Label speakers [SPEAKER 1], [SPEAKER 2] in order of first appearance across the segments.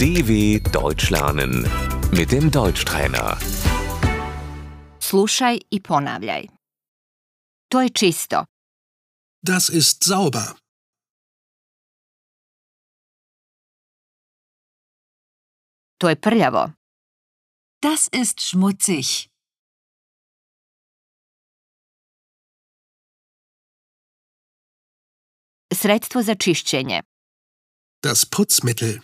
[SPEAKER 1] DW Deutsch lernen mit dem Deutschtrainer.
[SPEAKER 2] Slušaj i ponavljaj. To je čisto.
[SPEAKER 3] Das ist sauber.
[SPEAKER 2] To je prljavo.
[SPEAKER 4] Das ist schmutzig.
[SPEAKER 2] Sredstvo za čišćenje.
[SPEAKER 3] Das Putzmittel.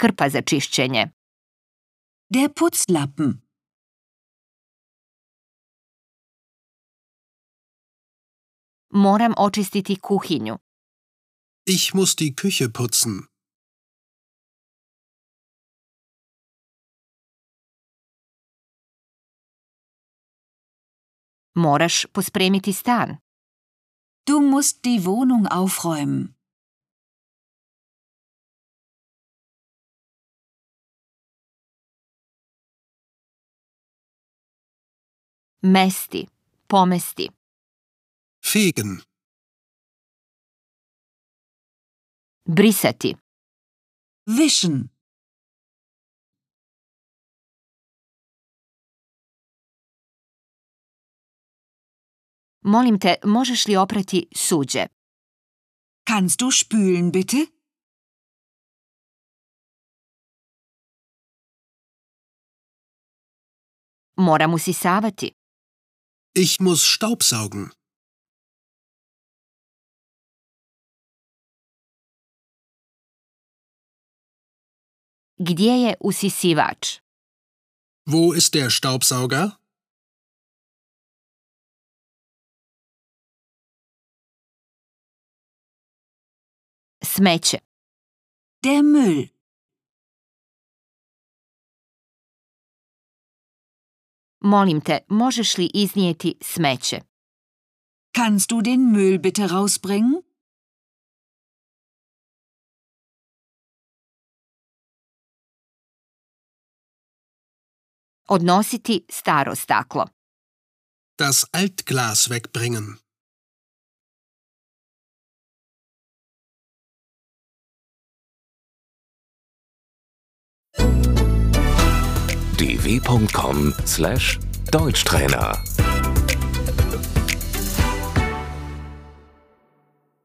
[SPEAKER 2] Krpa za čišćenje.
[SPEAKER 4] Der Putzlappen.
[SPEAKER 2] Moram očistiti kuhinju.
[SPEAKER 3] Ich muss die Küche putzen.
[SPEAKER 2] Moraš pospremiti stan.
[SPEAKER 4] Du musst die Wohnung aufräumen.
[SPEAKER 2] Mesti. Pomesti.
[SPEAKER 3] Fegen.
[SPEAKER 2] Brisati.
[SPEAKER 4] Wischen.
[SPEAKER 2] Molim te, možeš li oprati suđe?
[SPEAKER 4] Kannst du spülen bitte?
[SPEAKER 2] Moram usisavati.
[SPEAKER 3] Ich muss Staubsaugen.
[SPEAKER 2] Gdje je usisivač?
[SPEAKER 3] Wo ist der Staubsauger?
[SPEAKER 2] Smeće.
[SPEAKER 4] Der Müll.
[SPEAKER 2] Molim te, možeš li iznijeti smeće?
[SPEAKER 4] Kannst du den Müll bitte rausbringen?
[SPEAKER 2] Odnositi staro staklo.
[SPEAKER 3] Das Altglas wegbringen.
[SPEAKER 1] dw.com/deutschtrainer